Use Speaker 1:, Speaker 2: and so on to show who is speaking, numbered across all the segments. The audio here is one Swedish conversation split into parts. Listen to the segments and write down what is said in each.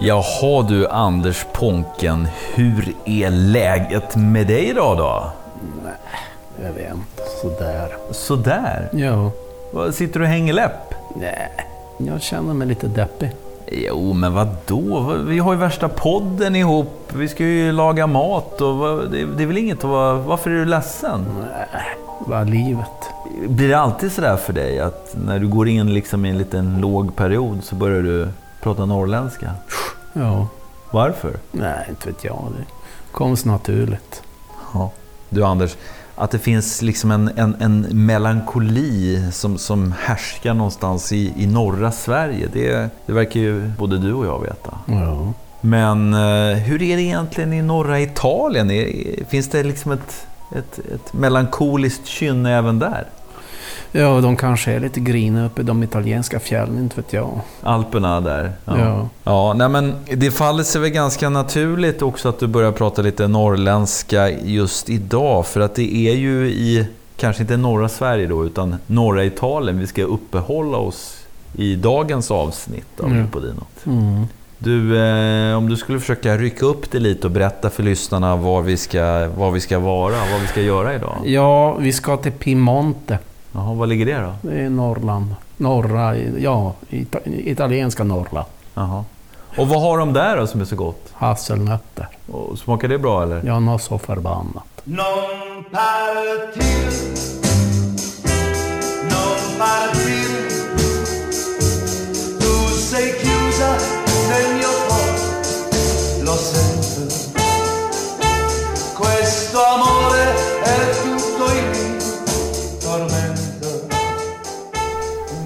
Speaker 1: Jaha du Anders Ponken, hur är läget med dig idag då?
Speaker 2: Jag vet inte, sådär.
Speaker 1: Sådär?
Speaker 2: Jo.
Speaker 1: Vad, Sitter du och hänger läpp?
Speaker 2: Nej, jag känner mig lite deppig.
Speaker 1: Jo, men vad då? Vi har ju värsta podden ihop. Vi ska ju laga mat och vad- det, det är väl inget att vara... Varför är du ledsen?
Speaker 2: Nej, vad är livet?
Speaker 1: Blir det alltid sådär för dig att när du går in liksom i en liten låg period så börjar du prata norrländska?
Speaker 2: Jo.
Speaker 1: Varför?
Speaker 2: Nej, inte vet jag. Det kom så naturligt.
Speaker 1: Ja. Du Anders, att det finns liksom en, en, en melankoli som, som härskar någonstans i, i norra Sverige. Det, det verkar ju både du och jag veta.
Speaker 2: Jo.
Speaker 1: Men eh, hur är det egentligen i norra Italien? Är- Finns det liksom ett, ett, ett melankoliskt kynne även där?
Speaker 2: Ja, de kanske är lite griniga uppe i de italienska fjällen, inte vet jag.
Speaker 1: Alperna där?
Speaker 2: Ja.
Speaker 1: Ja, nej men det faller sig väl ganska naturligt också att du börjar prata lite norrländska just idag. För att det är ju i, kanske inte norra Sverige då, utan norra Italien vi ska uppehålla oss i dagens avsnitt av
Speaker 2: Mm.
Speaker 1: Podino.
Speaker 2: Mm.
Speaker 1: Du, eh, om du skulle försöka rycka upp det lite och berätta för lyssnarna var vi ska, var vi ska vara, vad vi ska göra idag.
Speaker 2: Ja, vi ska till Piemonte.
Speaker 1: Jaha, vad ligger det då?
Speaker 2: Det är Norrland. Norra, ja, ita- italienska Norrland.
Speaker 1: Jaha. Och vad har de där då som är så gott?
Speaker 2: Hasselnötter.
Speaker 1: Och smakar det bra eller?
Speaker 2: Ja, något så förbannat.
Speaker 3: Non partir, non partir. Tu sei chiusa nel mio cuore, lo sento. Questo amore è tutto il mio tormento.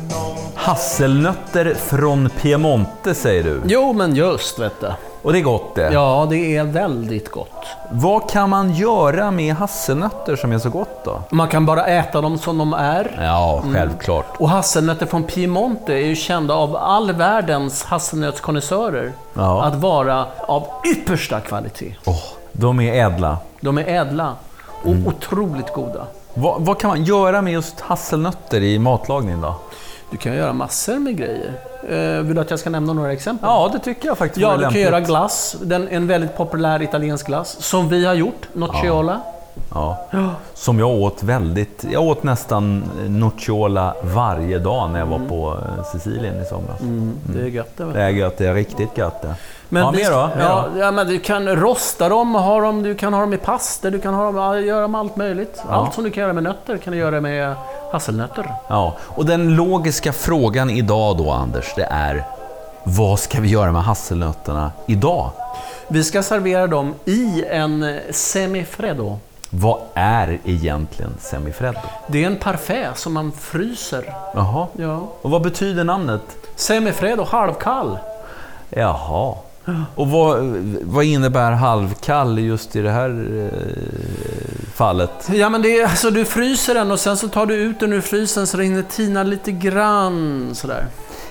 Speaker 3: Non
Speaker 1: Hasselnötter från Piemonte säger du.
Speaker 2: Jo, men just vet du.
Speaker 1: Och det är gott det.
Speaker 2: Ja, det är väldigt gott.
Speaker 1: Vad kan man göra med hasselnötter som är så gott då? Mm.
Speaker 2: Man kan bara äta dem som de är.
Speaker 1: Ja, självklart.
Speaker 2: Och hasselnötter från Piemonte är ju kända av all världens hasselnötskonnässörer
Speaker 1: Ja.
Speaker 2: att vara av yppersta kvalitet.
Speaker 1: de är ädla.
Speaker 2: De är ädla och
Speaker 1: Mm.
Speaker 2: otroligt goda.
Speaker 1: Vad, vad kan man göra med just hasselnötter i matlagning då?
Speaker 2: Du kan göra massor med grejer. Eh, vill du att jag ska nämna några exempel?
Speaker 1: Ja, det tycker jag faktiskt
Speaker 2: Ja,
Speaker 1: vore
Speaker 2: du kan
Speaker 1: lämpligt.
Speaker 2: göra glass. Den, en väldigt populär italiensk glass som vi har gjort, nocciola.
Speaker 1: Ja. Som jag åt väldigt... Jag åt nästan nocciola varje dag när jag var på eh, Sicilien i somras.
Speaker 2: Mm. Det är gött det. va?
Speaker 1: Det är gött, det är riktigt gött Mm. det.
Speaker 2: Men
Speaker 1: ja,
Speaker 2: vi-
Speaker 1: mer då? Mer
Speaker 2: Ja,
Speaker 1: då?
Speaker 2: ja, men du kan rosta dem, ha dem, du kan ha dem i pasta, du kan ha dem, ja, göra dem allt möjligt. Allt som du kan göra med nötter kan du göra med hasselnötter.
Speaker 1: Ja, och den logiska frågan idag då Anders, det är vad ska vi göra med hasselnötterna idag?
Speaker 2: Vi ska servera dem i en semifreddo.
Speaker 1: Vad är egentligen semifreddo?
Speaker 2: Det är en parfait som man fryser.
Speaker 1: Jaha.
Speaker 2: Ja.
Speaker 1: Och vad betyder namnet?
Speaker 2: Semifreddo, halvkall.
Speaker 1: Jaha. Och vad, vad innebär halvkall just i det här eh, fallet?
Speaker 2: Ja, men det är, alltså, du fryser den och sen så tar du ut den ur frysen så den hinner tina lite grann. Sådär.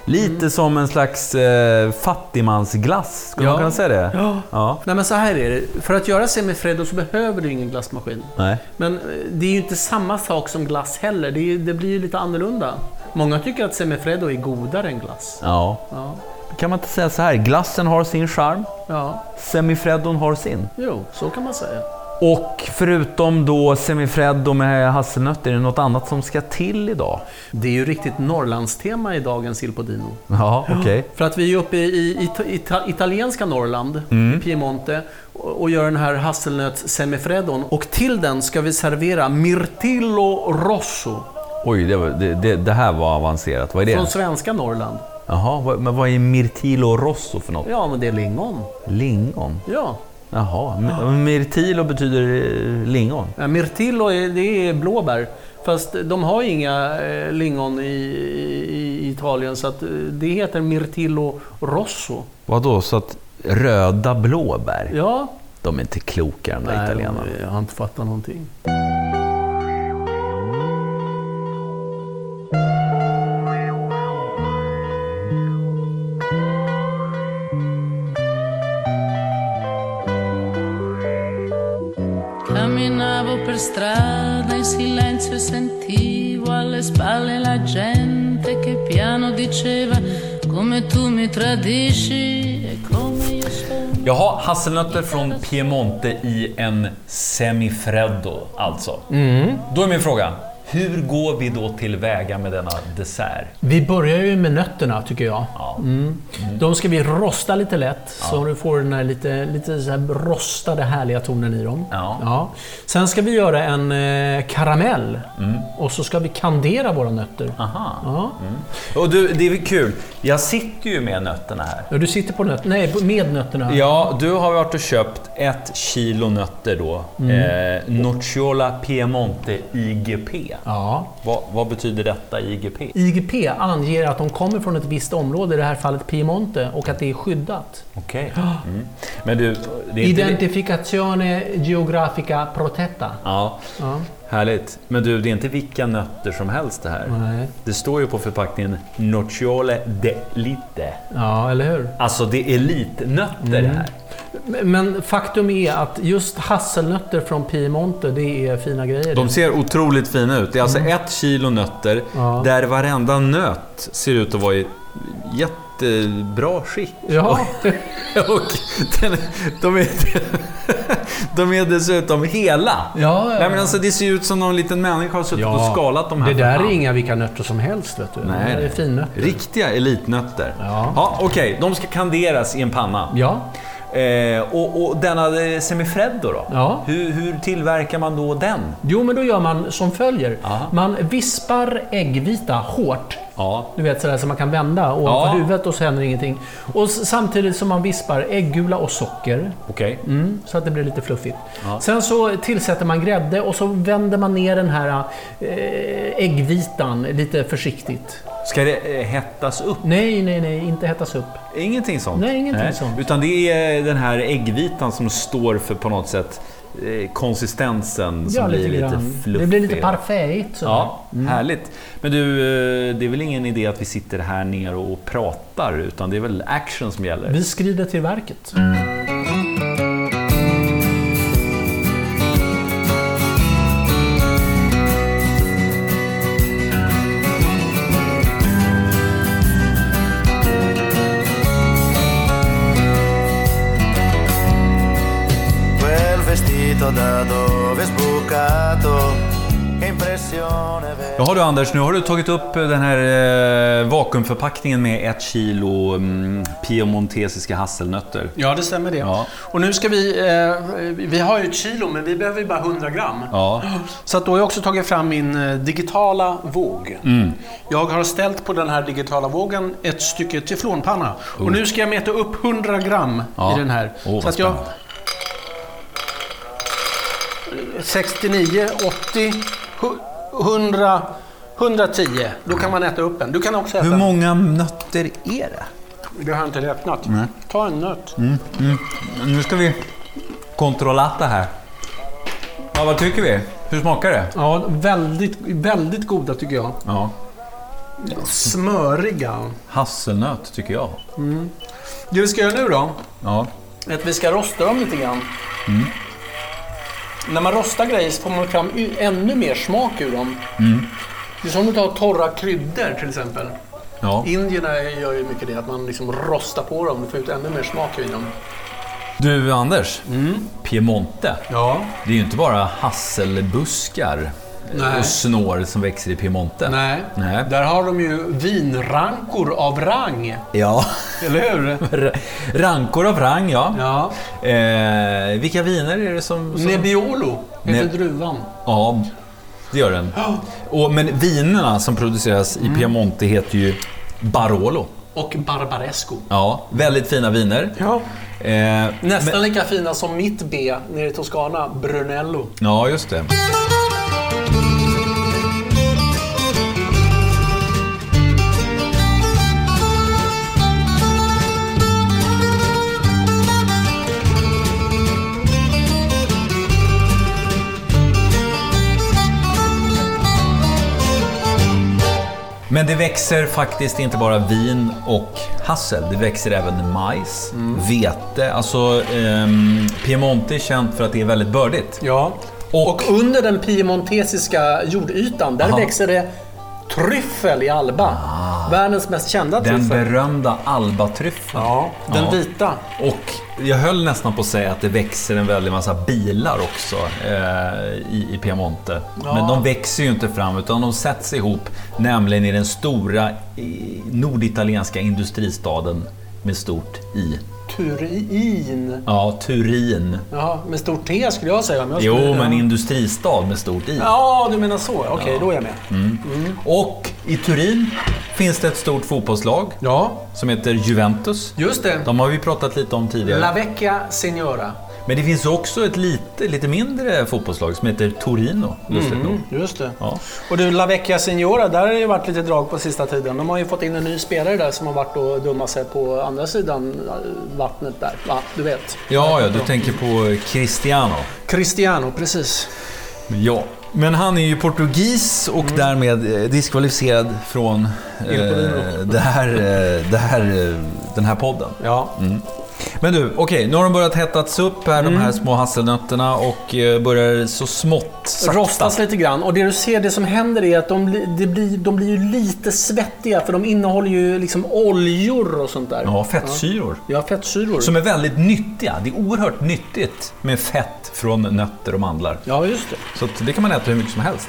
Speaker 1: Lite som en slags eh, fattigmansglass, skulle
Speaker 2: Ja.
Speaker 1: man kunna säga det?
Speaker 2: Ja.
Speaker 1: ja.
Speaker 2: Nej, men så här är det. För att göra semifreddo så behöver du ingen glassmaskin.
Speaker 1: Nej.
Speaker 2: Men eh, det är ju inte samma sak som glass heller. Det, är, det blir ju lite annorlunda. Många tycker att semifreddo är godare än glass.
Speaker 1: Ja.
Speaker 2: Ja,
Speaker 1: Kan man inte säga så här, glassen har sin charm,
Speaker 2: ja
Speaker 1: semifreddon har sin.
Speaker 2: jo, så kan man säga.
Speaker 1: Och förutom då semifreddo med hasselnötter, är det något annat som ska till idag?
Speaker 2: Det är ju riktigt Norrlandstema i dagens Il Podino.
Speaker 1: Ja, okej.
Speaker 2: För att vi är ju uppe i, i, i ita, italienska Norrland, Piemonte, och, och gör den här hasselnöts-semifreddon. Och till den ska vi servera Mirtillo Rosso
Speaker 1: Oj, det, var, det, det, det här var avancerat. Vad är
Speaker 2: från
Speaker 1: det?
Speaker 2: svenska Norrland.
Speaker 1: Jaha, vad, men vad är mirtilo rosso för något?
Speaker 2: Ja, men det är lingon.
Speaker 1: Lingon?
Speaker 2: Ja.
Speaker 1: Jaha, mi- mirtilo betyder eh, lingon.
Speaker 2: Ja, Mirtillo är, det är blåbär. Fast de har ju inga eh, lingon i, i, i Italien så att eh, det heter Mirtillo Rosso.
Speaker 1: Vadå, så att röda blåbär?
Speaker 2: Ja.
Speaker 1: De är inte kloka de där italienarna.
Speaker 2: jag har inte fattat någonting.
Speaker 4: Camminavo per strada in silenzio e sentivo alle spalle la gente che piano diceva Come tu mi tradisci e come io sono
Speaker 1: Jaha, hasselnötter från Piemonte i en semifreddo alltså. Då är min fråga, hur går vi då tillväga med denna dessert?
Speaker 5: Vi börjar ju med nötterna tycker jag. Mm.
Speaker 1: Ja.
Speaker 2: Mm.
Speaker 5: De ska vi rosta lite lätt så du får den här lite, lite så här rostade härliga tonen i dem.
Speaker 1: Ja.
Speaker 5: Sen ska vi göra en eh, karamell
Speaker 2: Mm.
Speaker 5: och så ska vi kandera våra nötter.
Speaker 2: Ah.
Speaker 1: Aha.
Speaker 5: Ja.
Speaker 1: Och du, det är väl kul. Jag sitter ju med nötterna här.
Speaker 5: Ja, Du sitter på nöt- nej, på- med nötterna.
Speaker 1: Ja, du har varit och köpt ett kilo nötter då. Eh, Nocciola Piemonte IGP.
Speaker 5: Ja.
Speaker 1: Vad, vad betyder detta IGP?
Speaker 5: IGP anger att de kommer från ett visst område, i det här fallet Piemonte, och att det är skyddat.
Speaker 1: Okej. Mm. Men du, det är inte... vi-
Speaker 5: Identificazione geografica protetta.
Speaker 1: Ja,
Speaker 5: Ja.
Speaker 1: härligt. Men du, det är inte vilka nötter som helst det här.
Speaker 5: Nej.
Speaker 1: Det står ju på förpackningen Nocciole de Lite.
Speaker 5: ja, eller hur?
Speaker 1: Alltså det är elitnötter
Speaker 5: Mm.
Speaker 1: det här.
Speaker 5: Men faktum är att just hasselnötter från Piemonte, det är fina grejer.
Speaker 1: De ser otroligt fina ut. Det är alltså ett kilo nötter
Speaker 5: Mm. Ja.
Speaker 1: där varenda nöt ser ut att vara i jättebra skick.
Speaker 5: Ja,
Speaker 1: Och den, de, är, de är dessutom hela.
Speaker 5: ja,
Speaker 1: Nej, men alltså, det ser ju ut som någon liten människa har suttit och skalat de här.
Speaker 5: Det
Speaker 1: för
Speaker 5: där är
Speaker 1: hand.
Speaker 5: inga vilka nötter som helst, vet du. det
Speaker 1: Nej,
Speaker 5: här är
Speaker 1: nej.
Speaker 5: finnötter.
Speaker 1: Riktiga elitnötter.
Speaker 5: Ja.
Speaker 1: Okej, de ska kanderas i en panna.
Speaker 5: Ja.
Speaker 1: Eh, och, och denna eh, semifreddo då?
Speaker 5: Ja.
Speaker 1: Hur, hur tillverkar man då den?
Speaker 5: Jo, men då gör man som följer.
Speaker 1: Aha.
Speaker 5: Man vispar äggvita hårt.
Speaker 1: Ja.
Speaker 5: Du vet sådär som man kan vända ovanför
Speaker 1: Ja.
Speaker 5: huvudet och så händer ingenting. Och s- samtidigt som man vispar äggula och socker.
Speaker 1: Okej.
Speaker 5: Mm, så att det blir lite fluffigt.
Speaker 1: Ja.
Speaker 5: Sen så tillsätter man grädde och så vänder man ner den här eh, äggvitan lite försiktigt.
Speaker 1: Ska det eh, hettas upp?
Speaker 5: Nej, nej, nej, inte hettas upp.
Speaker 1: Ingenting sånt?
Speaker 5: Nej, ingenting sånt.
Speaker 1: Utan det är eh, den här äggvitan som står för på något sätt eh, konsistensen som blir lite
Speaker 5: grann.
Speaker 1: fluffig.
Speaker 5: Det blir lite Mm. parfait. sådär.
Speaker 1: Ja, härligt. Men du, eh, det är väl ingen idé att vi sitter här nere och pratar, utan det är väl action som gäller?
Speaker 5: Vi skrider till verket.
Speaker 3: Quel vestito da dove è sbucato, che impressione vera.
Speaker 1: Jaha du Anders, nu har du tagit upp eh, den här eh, vakuumförpackningen med ett kilo mm, piemontesiska hasselnötter.
Speaker 5: Ja, det stämmer det.
Speaker 1: Ja.
Speaker 5: Och nu ska vi... Eh, vi har ju ett kilo, men vi behöver ju bara 100 gram.
Speaker 1: Ja.
Speaker 5: Så att då har jag också tagit fram min eh, digitala våg.
Speaker 1: Mm.
Speaker 5: Jag har ställt på den här digitala vågen ett stycke teflonpanna. Och nu ska jag mäta upp 100 gram
Speaker 1: Ja.
Speaker 5: i den här.
Speaker 1: Åh, vad
Speaker 5: så att jag...
Speaker 1: spännande.
Speaker 5: 69, 80, hu- 100, 110. Då kan man äta upp den. Du kan också äta
Speaker 1: Hur
Speaker 5: den.
Speaker 1: många nötter är det?
Speaker 5: Det har jag inte räknat. Ta en nöt.
Speaker 1: Nu ska vi kontrollata här. Ja, vad tycker vi? Hur smakar det?
Speaker 5: Ja, väldigt, väldigt goda tycker jag.
Speaker 1: Ja.
Speaker 5: Smöriga.
Speaker 1: Hasselnöt tycker jag.
Speaker 5: Det vi ska göra nu då,
Speaker 1: Ja.
Speaker 5: är att vi ska rosta dem lite grann.
Speaker 1: Mm.
Speaker 5: När man rostar grejer så får man fram y- ännu mer smak ur dem.
Speaker 1: Mm.
Speaker 5: Det är som om du tar torra kryddor till exempel.
Speaker 1: ja.
Speaker 5: Indierna gör ju mycket det, att man liksom rostar på dem och får ut ännu mer smak ur dem.
Speaker 1: Du Anders, Piemonte.
Speaker 5: Mm. Ja.
Speaker 1: Det är ju inte bara hasselbuskar
Speaker 5: Nej.
Speaker 1: och snår som växer i Piemonte.
Speaker 5: Nej.
Speaker 1: Nej.
Speaker 5: Där har de ju vinrankor av rang.
Speaker 1: Ja.
Speaker 5: Eller hur?
Speaker 1: Rankor av rang, ja.
Speaker 5: Ja.
Speaker 1: Eh, vilka viner är det som... som...
Speaker 5: Nebbiolo heter
Speaker 1: Ne-
Speaker 5: druvan.
Speaker 1: Ja, det gör den. Och, men vinerna som produceras
Speaker 5: Mm.
Speaker 1: i Piemonte heter ju Barolo.
Speaker 5: Och Barbaresco.
Speaker 1: Ja, väldigt fina viner.
Speaker 5: Ja.
Speaker 1: Eh,
Speaker 5: Nästan lika fina som mitt B nere i Toscana, Brunello.
Speaker 1: ja, just det. Men det växer faktiskt inte bara vin och hassel. Det växer även majs, vete. Alltså, ehm, Piemonte är känt för att det är väldigt bördigt.
Speaker 5: Ja.
Speaker 1: Och-
Speaker 5: Och, under den piemontesiska jordytan, där
Speaker 1: Aha. Ah.
Speaker 5: växer det tryffel i Alba. Världens mest kända
Speaker 1: Den
Speaker 5: tryffel.
Speaker 1: berömda albatryffeln.
Speaker 5: Ja, den
Speaker 1: Ja.
Speaker 5: vita.
Speaker 1: Och jag höll nästan på att säga att det växer en väldig massa bilar också eh, i, i Piemonte. Men de växer ju inte fram utan de sätts ihop, nämligen i den stora i, norditalienska industristaden med stort I.
Speaker 5: Turin.
Speaker 1: Ja, Turin.
Speaker 5: Ja, med stort T skulle jag säga. Men jag skulle,
Speaker 1: Jo, men industristad med stort I.
Speaker 5: Ja, du menar så. Okej, då är jag med.
Speaker 1: Mm. Och i Turin finns det ett stort fotbollslag
Speaker 5: Ja,
Speaker 1: som heter Juventus.
Speaker 5: just det.
Speaker 1: De har vi pratat lite om tidigare.
Speaker 5: La Vecchia Signora.
Speaker 1: Men det finns också ett lite, lite mindre fotbollslag som heter Torino, lustigt
Speaker 5: Mm.
Speaker 1: nog.
Speaker 5: Just det.
Speaker 1: Ja.
Speaker 5: Och du, La Vecchia Signora, där har det ju varit lite drag på sista tiden. De har ju fått in en ny spelare där som har varit och dummat sig på andra sidan eh, vattnet där. Va? Du vet.
Speaker 1: Ja, ja, du tänker på Cristiano.
Speaker 5: Cristiano, precis.
Speaker 1: Ja. Men han är ju portugis och
Speaker 5: Mm.
Speaker 1: därmed eh, diskvalificerad från eh,
Speaker 5: Il
Speaker 1: det här, eh, det här, eh, den här podden. Mm.
Speaker 5: Ja.
Speaker 1: Men du, okej, nu har de börjat hettas upp här, de här
Speaker 5: Mm.
Speaker 1: små hasselnötterna och eh, börjar så smått, sakta.
Speaker 5: Rostas lite grann. Och det du ser, det som händer är att de, bli- det blir, de blir ju lite svettiga för de innehåller ju liksom oljor och sånt där.
Speaker 1: Ja, fettsyror.
Speaker 5: Ja, fettsyror.
Speaker 1: Som är väldigt nyttiga. Det är oerhört nyttigt med fett från nötter och mandlar.
Speaker 5: Ja, just det.
Speaker 1: Så att det kan man äta hur mycket som helst.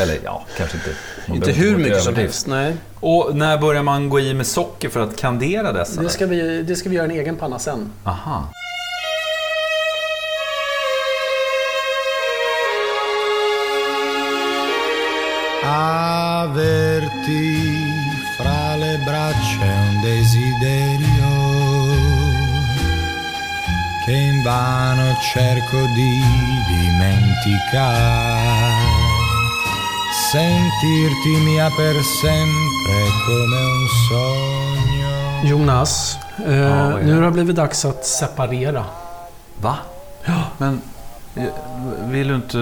Speaker 1: Eller ja, kanske inte. Man
Speaker 5: Inte
Speaker 1: behöver
Speaker 5: hur
Speaker 1: gå till
Speaker 5: mycket som
Speaker 1: överdrift.
Speaker 5: helst. Nej.
Speaker 1: Och när börjar man gå i med socker för att kandera dessa?
Speaker 5: Det ska, vi, det ska vi göra en egen panna sen.
Speaker 1: Aha.
Speaker 6: averti fra le braccia un desiderio che invano cerco di dimenticare. Sentirti mia per sempre come un sogno.
Speaker 5: Jonas, eh,
Speaker 1: vad är det?
Speaker 5: nu har det blivit dags att separera.
Speaker 1: Va? Ja. Men eh, vill du, inte,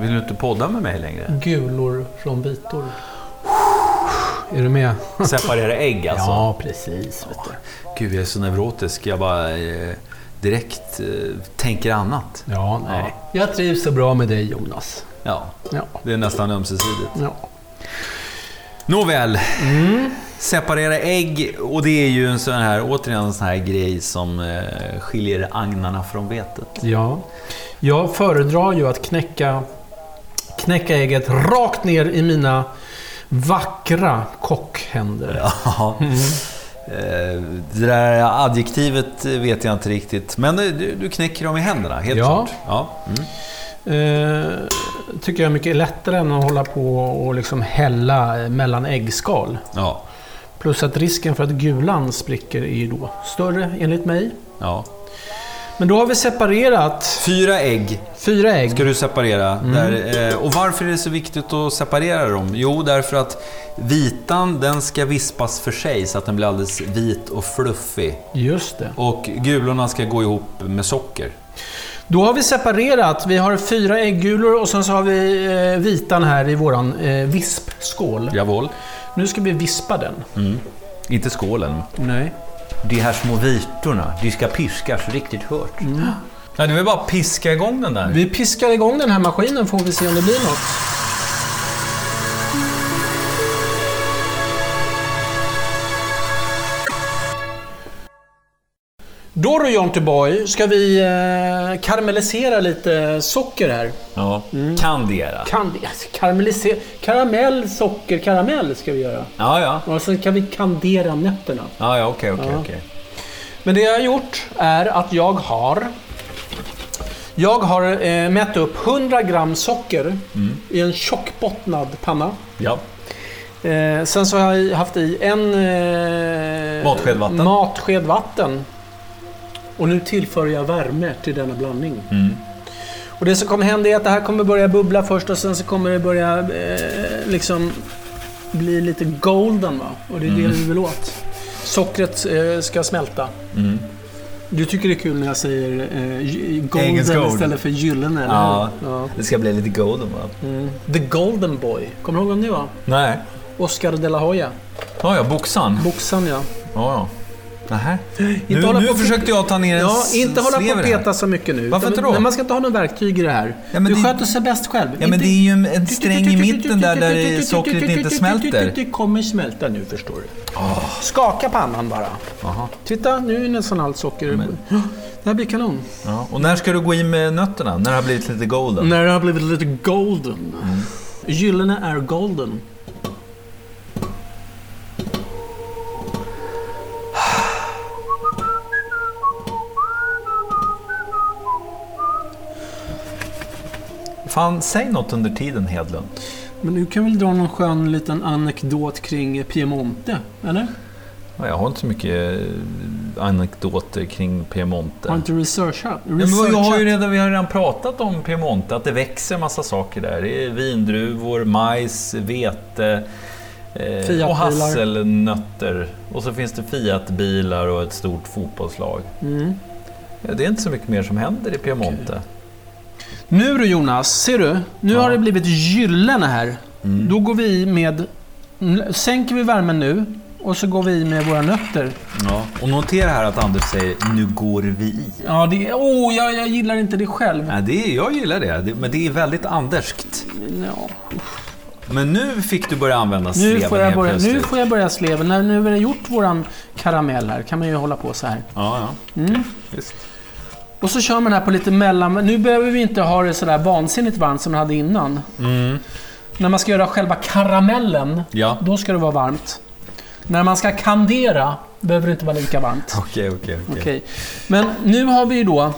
Speaker 1: vill du inte podda med mig längre?
Speaker 5: Gulor från vitor. Är du med?
Speaker 1: Separera ägg alltså?
Speaker 5: precis. Vet du.
Speaker 1: Gud, jag är så neurotisk. Jag bara eh, direkt eh, tänker annat.
Speaker 5: Ja, nej. Jag trivs så bra med dig Jonas.
Speaker 1: Ja,
Speaker 5: Ja.
Speaker 1: det är nästan ömsesidigt.
Speaker 5: ja.
Speaker 1: Nåväl. Mm. Separera ägg och det är ju en sån här, återigen en sån här grej som eh, skiljer agnarna från vetet.
Speaker 5: Ja. Jag föredrar ju att knäcka, knäcka ägget rakt ner i mina vackra kockhänder.
Speaker 1: Ja. Eh, Det där adjektivet vet jag inte riktigt, men eh, du, du knäcker dem i händerna, helt
Speaker 5: Ja.
Speaker 1: klart. Ja. Mm.
Speaker 5: Eh, tycker jag är mycket lättare än att hålla på och liksom hälla eh, mellan äggskal.
Speaker 1: Ja.
Speaker 5: Plus att risken för att gulan spricker är ju då större enligt mig.
Speaker 1: Ja.
Speaker 5: Men då har vi separerat
Speaker 1: Fyra ägg
Speaker 5: fyra ägg.
Speaker 1: ska du separera. Där, eh, och varför är det så viktigt att separera dem? Jo, därför att vitan den ska vispas för sig så att den blir alldeles vit och fluffig.
Speaker 5: Just det.
Speaker 1: Och gulorna ska gå ihop med socker.
Speaker 5: Då har vi separerat. Vi har fyra äggulor och sen så har vi eh, vitan här i våran eh, vispskål.
Speaker 1: Jawohl.
Speaker 5: Nu ska vi vispa den.
Speaker 1: Inte skålen.
Speaker 5: Nej.
Speaker 1: De här små vitorna, de ska piskas riktigt hårt. Mm. Nej, du vill bara piska igång den där.
Speaker 5: Vi piskar igång den här maskinen får vi se om det blir något. Då du Jontyboy, ska vi eh, karamellisera lite socker här.
Speaker 1: Ja. Kandera.
Speaker 5: Kan, alltså, karamellisera, karamell, socker, karamell ska vi göra.
Speaker 1: Ja, ja.
Speaker 5: Och sen kan vi kandera nötterna.
Speaker 1: Ja, ja, okej, okej,
Speaker 5: Ja.
Speaker 1: okej.
Speaker 5: Men det jag har gjort är att jag har jag har eh, mätt upp 100 gram socker i en tjockbottnad panna.
Speaker 1: Ja.
Speaker 5: Eh, sen så har jag haft i en eh,
Speaker 1: Matsked vatten.
Speaker 5: matsked vatten. Och nu tillför jag värme till denna blandning.
Speaker 1: Mm.
Speaker 5: Och det som kommer hända är att det här kommer börja bubbla först och sen så kommer det börja eh, liksom bli lite golden va? Och det är
Speaker 1: Mm.
Speaker 5: det vi vill åt. Sockret eh, ska smälta.
Speaker 1: Mm.
Speaker 5: Du tycker det är kul när jag säger eh, gy-
Speaker 1: Engelska
Speaker 5: golden
Speaker 1: ord.
Speaker 5: istället för gyllene, eller
Speaker 1: Ja.
Speaker 5: hur? ja.
Speaker 1: Det ska bli lite golden va?
Speaker 5: The Golden Boy. Kommer du ihåg vem det var?
Speaker 1: Nej.
Speaker 5: Oscar de la Hoya.
Speaker 1: Ja, ja, boxan.
Speaker 5: Boxaren ja.
Speaker 1: Ja, ja. Nähä.
Speaker 5: Inte
Speaker 1: Nu,
Speaker 5: hålla
Speaker 1: nu
Speaker 5: på-
Speaker 1: försökte jag ta ner en
Speaker 5: Ja, inte hålla på och
Speaker 1: slever här.
Speaker 5: peta så mycket nu.
Speaker 1: Varför
Speaker 5: Utan-
Speaker 1: inte då?
Speaker 5: Nej, Man ska inte ha några verktyg i det här.
Speaker 1: Ja, men
Speaker 5: du
Speaker 1: det-
Speaker 5: sköter sig bäst själv.
Speaker 1: Ja, men
Speaker 5: Inte-
Speaker 1: det är ju en- en sträng i mitten där, där sockret inte smälter. Ah.
Speaker 5: Det kommer smälta nu förstår du. Skaka pannan bara.
Speaker 1: Aha.
Speaker 5: Titta, nu är nästan allt socker. Ja, Det här blir kanon.
Speaker 1: Ja. Och när ska du gå in med nötterna? När det har blivit lite golden?
Speaker 5: När det har blivit lite golden.
Speaker 1: Mm.
Speaker 5: Gyllene är golden.
Speaker 1: Fan, säg något under tiden Hedlund.
Speaker 5: Men du kan väl dra någon skön liten anekdot kring Piemonte? Eller?
Speaker 1: Ja, Jag har inte så mycket eh, anekdoter kring Piemonte.
Speaker 5: Har inte researchat?
Speaker 1: Ja, men vad- jag har ju
Speaker 5: researchat?
Speaker 1: redan, vi har redan pratat om Piemonte, att det växer massa saker där. Det är vindruvor, majs, vete eh,
Speaker 5: Fiatbilar.
Speaker 1: och hasselnötter. Och så finns det Fiatbilar och ett stort fotbollslag.
Speaker 5: Mm.
Speaker 1: Ja, det är inte så mycket mer som händer i Piemonte.
Speaker 5: Nu du Jonas, ser du? Nu
Speaker 1: Ja. Mm.
Speaker 5: har det blivit gyllene här. Då går vi i med... Sänker vi värmen nu och så går vi i med våra nötter.
Speaker 1: Ja. Och notera här att Anders säger nu går vi i.
Speaker 5: Ja, det... Oh, jag, jag gillar inte det själv.
Speaker 1: Ja, det är, jag gillar det, det, men det är väldigt Anderskt.
Speaker 5: Ja.
Speaker 1: Men nu fick du börja använda
Speaker 5: Nu,
Speaker 1: sleven
Speaker 5: får jag
Speaker 1: helt
Speaker 5: börja,
Speaker 1: plötsligt.
Speaker 5: nu får jag börja sleven. När nu har jag gjort våran karamell här kan man ju hålla på så här.
Speaker 1: Ja, ja.
Speaker 5: Mm.
Speaker 1: Visst.
Speaker 5: Och så kör man det här på lite mellan... Nu behöver vi inte ha det sådär vansinnigt varmt som vi hade innan.
Speaker 1: Mm.
Speaker 5: När man ska göra själva karamellen,
Speaker 1: Ja.
Speaker 5: då ska det vara varmt. När man ska kandera behöver det inte vara lika varmt.
Speaker 1: Okej, okej, okej.
Speaker 5: Okej. Men nu har vi ju då...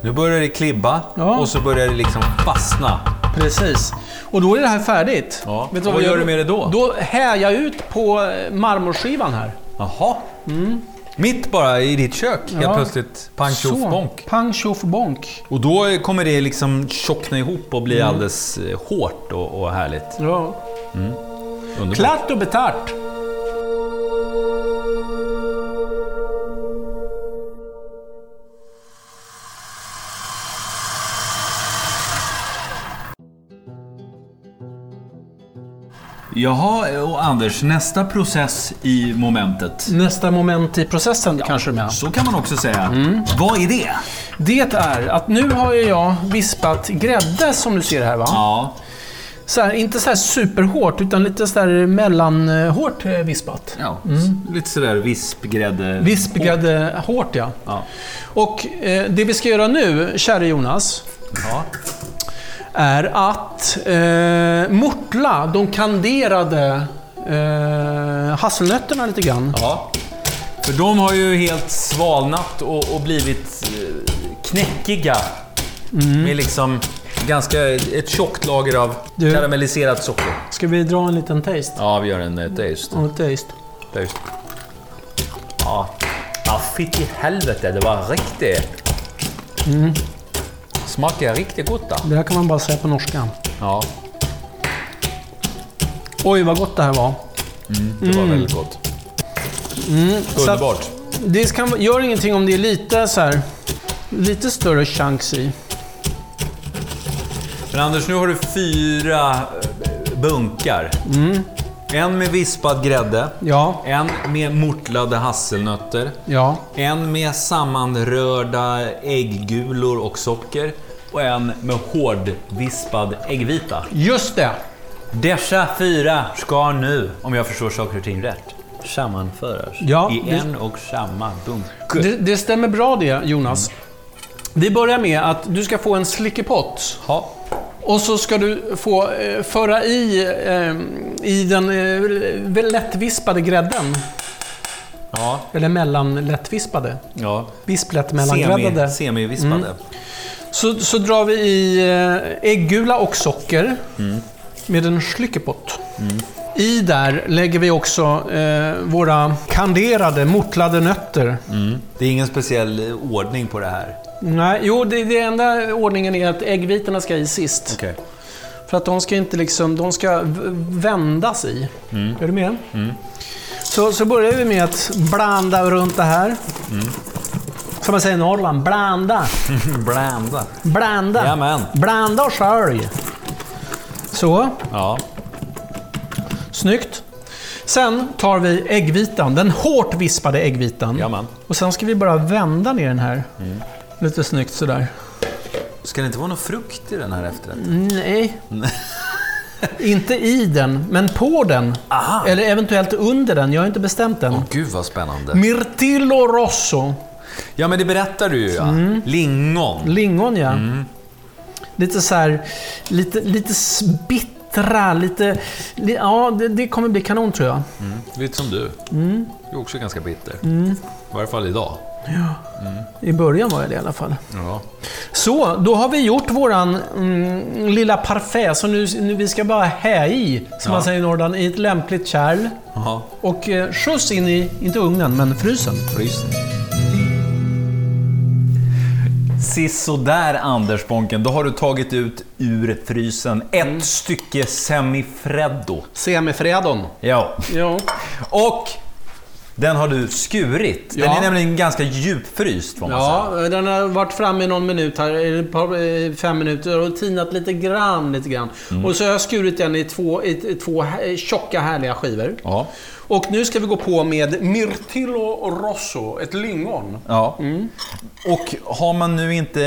Speaker 1: Nu börjar det klibba
Speaker 5: Ja.
Speaker 1: och så börjar det liksom fastna.
Speaker 5: Precis. Och då är det här färdigt.
Speaker 1: Ja.
Speaker 5: Vet du
Speaker 1: Vad
Speaker 5: vi
Speaker 1: gör du med det då?
Speaker 5: Då här jag ut på eh, marmorskivan här.
Speaker 1: Jaha. Mitt bara i ditt kök helt
Speaker 5: Mm. Ja.
Speaker 1: plötsligt. Pang tjoff
Speaker 5: Så.
Speaker 1: bonk.
Speaker 5: Pang tjoff bonk.
Speaker 1: Och då kommer det liksom tjockna ihop och
Speaker 5: Mm.
Speaker 1: bli alldeles eh, hårt och, och härligt.
Speaker 5: Ja.
Speaker 1: Underbart.
Speaker 5: Klart och betart.
Speaker 1: Jaha, och Anders, nästa process i momentet.
Speaker 5: Nästa moment i processen kanske du menar?
Speaker 1: Så kan man också säga.
Speaker 5: Mm.
Speaker 1: Vad är det?
Speaker 5: Det är att nu har ju jag vispat grädde som du ser här va?
Speaker 1: Ja,
Speaker 5: Så här, inte så här superhårt utan lite så här mellanhårt eh, vispat.
Speaker 1: ja.
Speaker 5: Mm.
Speaker 1: lite sådär vispgrädde.
Speaker 5: Vispgrädde hårt ja.
Speaker 1: Ja.
Speaker 5: Och eh, det vi ska göra nu, käre Jonas,
Speaker 1: Ja.
Speaker 5: är att eh, mortla de kanderade eh, hasselnötterna lite grann.
Speaker 1: Ja. För de har ju helt svalnat och, och blivit eh, knäckiga.
Speaker 5: Mm.
Speaker 1: Med liksom ganska ett tjockt lager av
Speaker 5: Du.
Speaker 1: karamelliserat socker.
Speaker 5: Ska vi dra en liten taste?
Speaker 1: Ja, vi gör en eh, taste.
Speaker 5: En taste.
Speaker 1: taste. Ja. ja, fitt i helvete. Det var riktigt... Mm. Smakar riktigt gott. Då.
Speaker 5: Det här kan man bara säga på norska.
Speaker 1: Ja,
Speaker 5: Oj, vad gott det här var.
Speaker 1: det var väldigt gott.
Speaker 5: Mm. Så att-
Speaker 1: Underbart.
Speaker 5: Det kan, gör ingenting om det är lite så här, lite större chans i.
Speaker 1: Men Anders, nu har du fyra eh, bunkar. En med vispad grädde.
Speaker 5: Mm. Ja,
Speaker 1: En med mortlade hasselnötter.
Speaker 5: ja.
Speaker 1: En med sammanrörda ägggulor och socker. Och en med hårdvispad äggvita.
Speaker 5: Just det!
Speaker 1: Dessa fyra ska nu, om jag förstår saker och ting rätt, sammanföras
Speaker 5: Ja,
Speaker 1: i
Speaker 5: det-
Speaker 1: en och samma bunke.
Speaker 5: det! Det stämmer bra det, Jonas. Vi börjar med att du ska få en slickepott.
Speaker 1: Ja.
Speaker 5: Och så ska du få eh, föra i, eh, i den eh, lättvispade grädden.
Speaker 1: Ja.
Speaker 5: Eller mellanlättvispade.
Speaker 1: ja.
Speaker 5: Visplätt
Speaker 1: Semi,
Speaker 5: mellangräddade.
Speaker 1: semivispade.
Speaker 5: Mm. Så, så drar vi i eh, äggula och socker med en slickepott. I där lägger vi också eh, våra kanderade, mortlade nötter.
Speaker 1: Mm. Det är ingen speciell eh, ordning på det här.
Speaker 5: Nej, jo, det, det enda ordningen är att äggvitorna ska i sist.
Speaker 1: Okej.
Speaker 5: För att de ska inte liksom, de ska v- vändas i. Är du med? Så, så börjar vi med att blanda runt det här. Som man säger i Norrland, blanda.
Speaker 1: Blanda.
Speaker 5: Blanda.
Speaker 1: Jajamän.
Speaker 5: Blanda och skölj. Så,
Speaker 1: Ja.
Speaker 5: snyggt. Sen tar vi äggvitan, den hårt vispade äggvitan.
Speaker 1: Jajamän.
Speaker 5: Och sen ska vi bara vända ner den här. Lite snyggt sådär.
Speaker 1: Ska det inte vara någon frukt i den här efterrätten?
Speaker 5: Nej. inte i den, men på den.
Speaker 1: Aha.
Speaker 5: Eller eventuellt under den, jag har inte bestämt än.
Speaker 1: Gud vad spännande.
Speaker 5: Mirtillo rosso.
Speaker 1: Ja men det berättar du ju ja. Lingon.
Speaker 5: Lingon ja. Lite så här, lite, lite s- bittra, lite... li- Ja, det, det kommer bli kanon tror jag.
Speaker 1: Lite som du. Du är också ganska bitter. I varje fall idag.
Speaker 5: I början var jag det i alla fall.
Speaker 1: Ja.
Speaker 5: Så, då har vi gjort våran mm, lilla parfait. Så nu, nu vi ska bara hä i, som man säger i Norrland, i ett lämpligt kärl.
Speaker 1: Jaha.
Speaker 5: Och eh, skjuts in i, inte ugnen, men frysen.
Speaker 1: Frysen. Sisådär Anders Bonken, då har du tagit ut ur frysen ett stycke semifreddo.
Speaker 7: Semifredon.
Speaker 1: Ja.
Speaker 5: Ja.
Speaker 1: Och den har du skurit. Den
Speaker 5: Ja.
Speaker 1: är nämligen ganska djupfryst får man
Speaker 5: Ja, den har varit framme i någon minut här, eller ett par, eh, fem minuter och tinat lite grann, lite grann.
Speaker 1: Mm.
Speaker 5: Och så har jag skurit den i två, i, i två eh, tjocka härliga skivor.
Speaker 1: Ja.
Speaker 5: Och nu ska vi gå på med Mirtillo Rosso, ett lingon.
Speaker 1: Ja.
Speaker 5: Mm.
Speaker 1: Och har man nu inte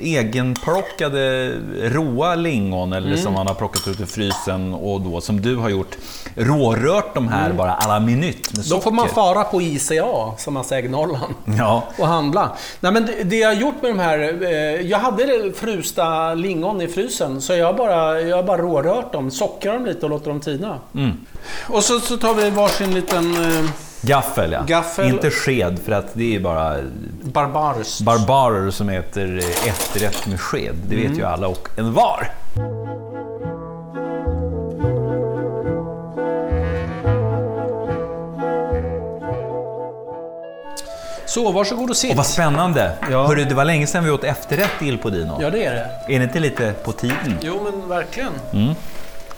Speaker 1: egenplockade råa lingon eller
Speaker 5: Mm.
Speaker 1: som man har plockat ut ur frysen och då som du har gjort rårört de här bara à la minute med
Speaker 5: Mm. Då får man
Speaker 1: socker. Mm.
Speaker 5: fara på ICA, som man säger i Norrland.
Speaker 1: Ja.
Speaker 5: Och handla. Nej, men det- det jag har gjort med de här... eh, Jag hade frusta lingon i frysen, så jag har bara, jag har bara rårört dem, sockrar dem lite och låter dem tina.
Speaker 1: Mm.
Speaker 5: Och så, så tar vi varsin liten eh,
Speaker 1: Gaffel ja.
Speaker 5: Gaffel.
Speaker 1: Inte sked för att det är bara
Speaker 5: barbarus.
Speaker 1: barbarer som äter eh, efterrätt med sked. Det vet
Speaker 5: Mm.
Speaker 1: ju alla och en var.
Speaker 5: så, varsågod och sitt.
Speaker 1: Och vad spännande!
Speaker 5: Ja.
Speaker 1: Hörru, det var länge sedan vi åt efterrätt i Il Podino.
Speaker 5: Ja, det är det.
Speaker 1: Är det inte lite på tiden?
Speaker 5: Jo, men verkligen.
Speaker 1: Mm.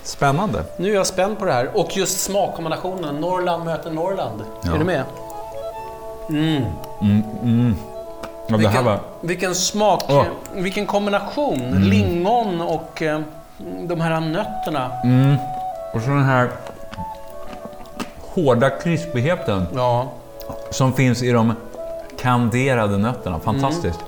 Speaker 1: Spännande.
Speaker 5: Nu är jag spänd på det här. Och just smakkombinationen, Norrland möter Norrland.
Speaker 1: Ja.
Speaker 5: Är du med?
Speaker 1: Ja, det här
Speaker 5: Vilken,
Speaker 1: var...
Speaker 5: vilken smak,
Speaker 1: Åh. Mm.
Speaker 5: vilken kombination. Lingon och eh, de här nötterna.
Speaker 1: Mm. Och så den här hårda krispigheten
Speaker 5: Ja.
Speaker 1: som finns i de kanderade nötterna. Fantastiskt.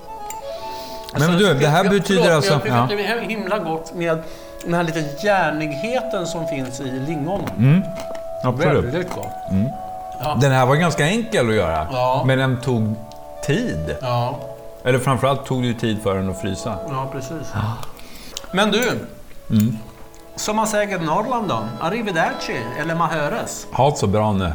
Speaker 1: Men du, det här
Speaker 5: Mm. Alltså, Jag-
Speaker 1: betyder
Speaker 5: förlåt,
Speaker 1: alltså...
Speaker 5: Jag tycker
Speaker 1: Ja.
Speaker 5: att det är himla gott med den här lite järnigheten som finns i lingon.
Speaker 1: Mm, Absolut.
Speaker 5: Väldigt gott.
Speaker 1: Den här var ganska enkel att göra,
Speaker 5: Ja.
Speaker 1: men den tog tid.
Speaker 5: Ja,
Speaker 1: Eller framförallt tog det ju tid för den att frysa.
Speaker 5: ja precis. Men du. Som man säger i Norrland då, arrivederci eller mahöres.
Speaker 1: Halt så bra nu.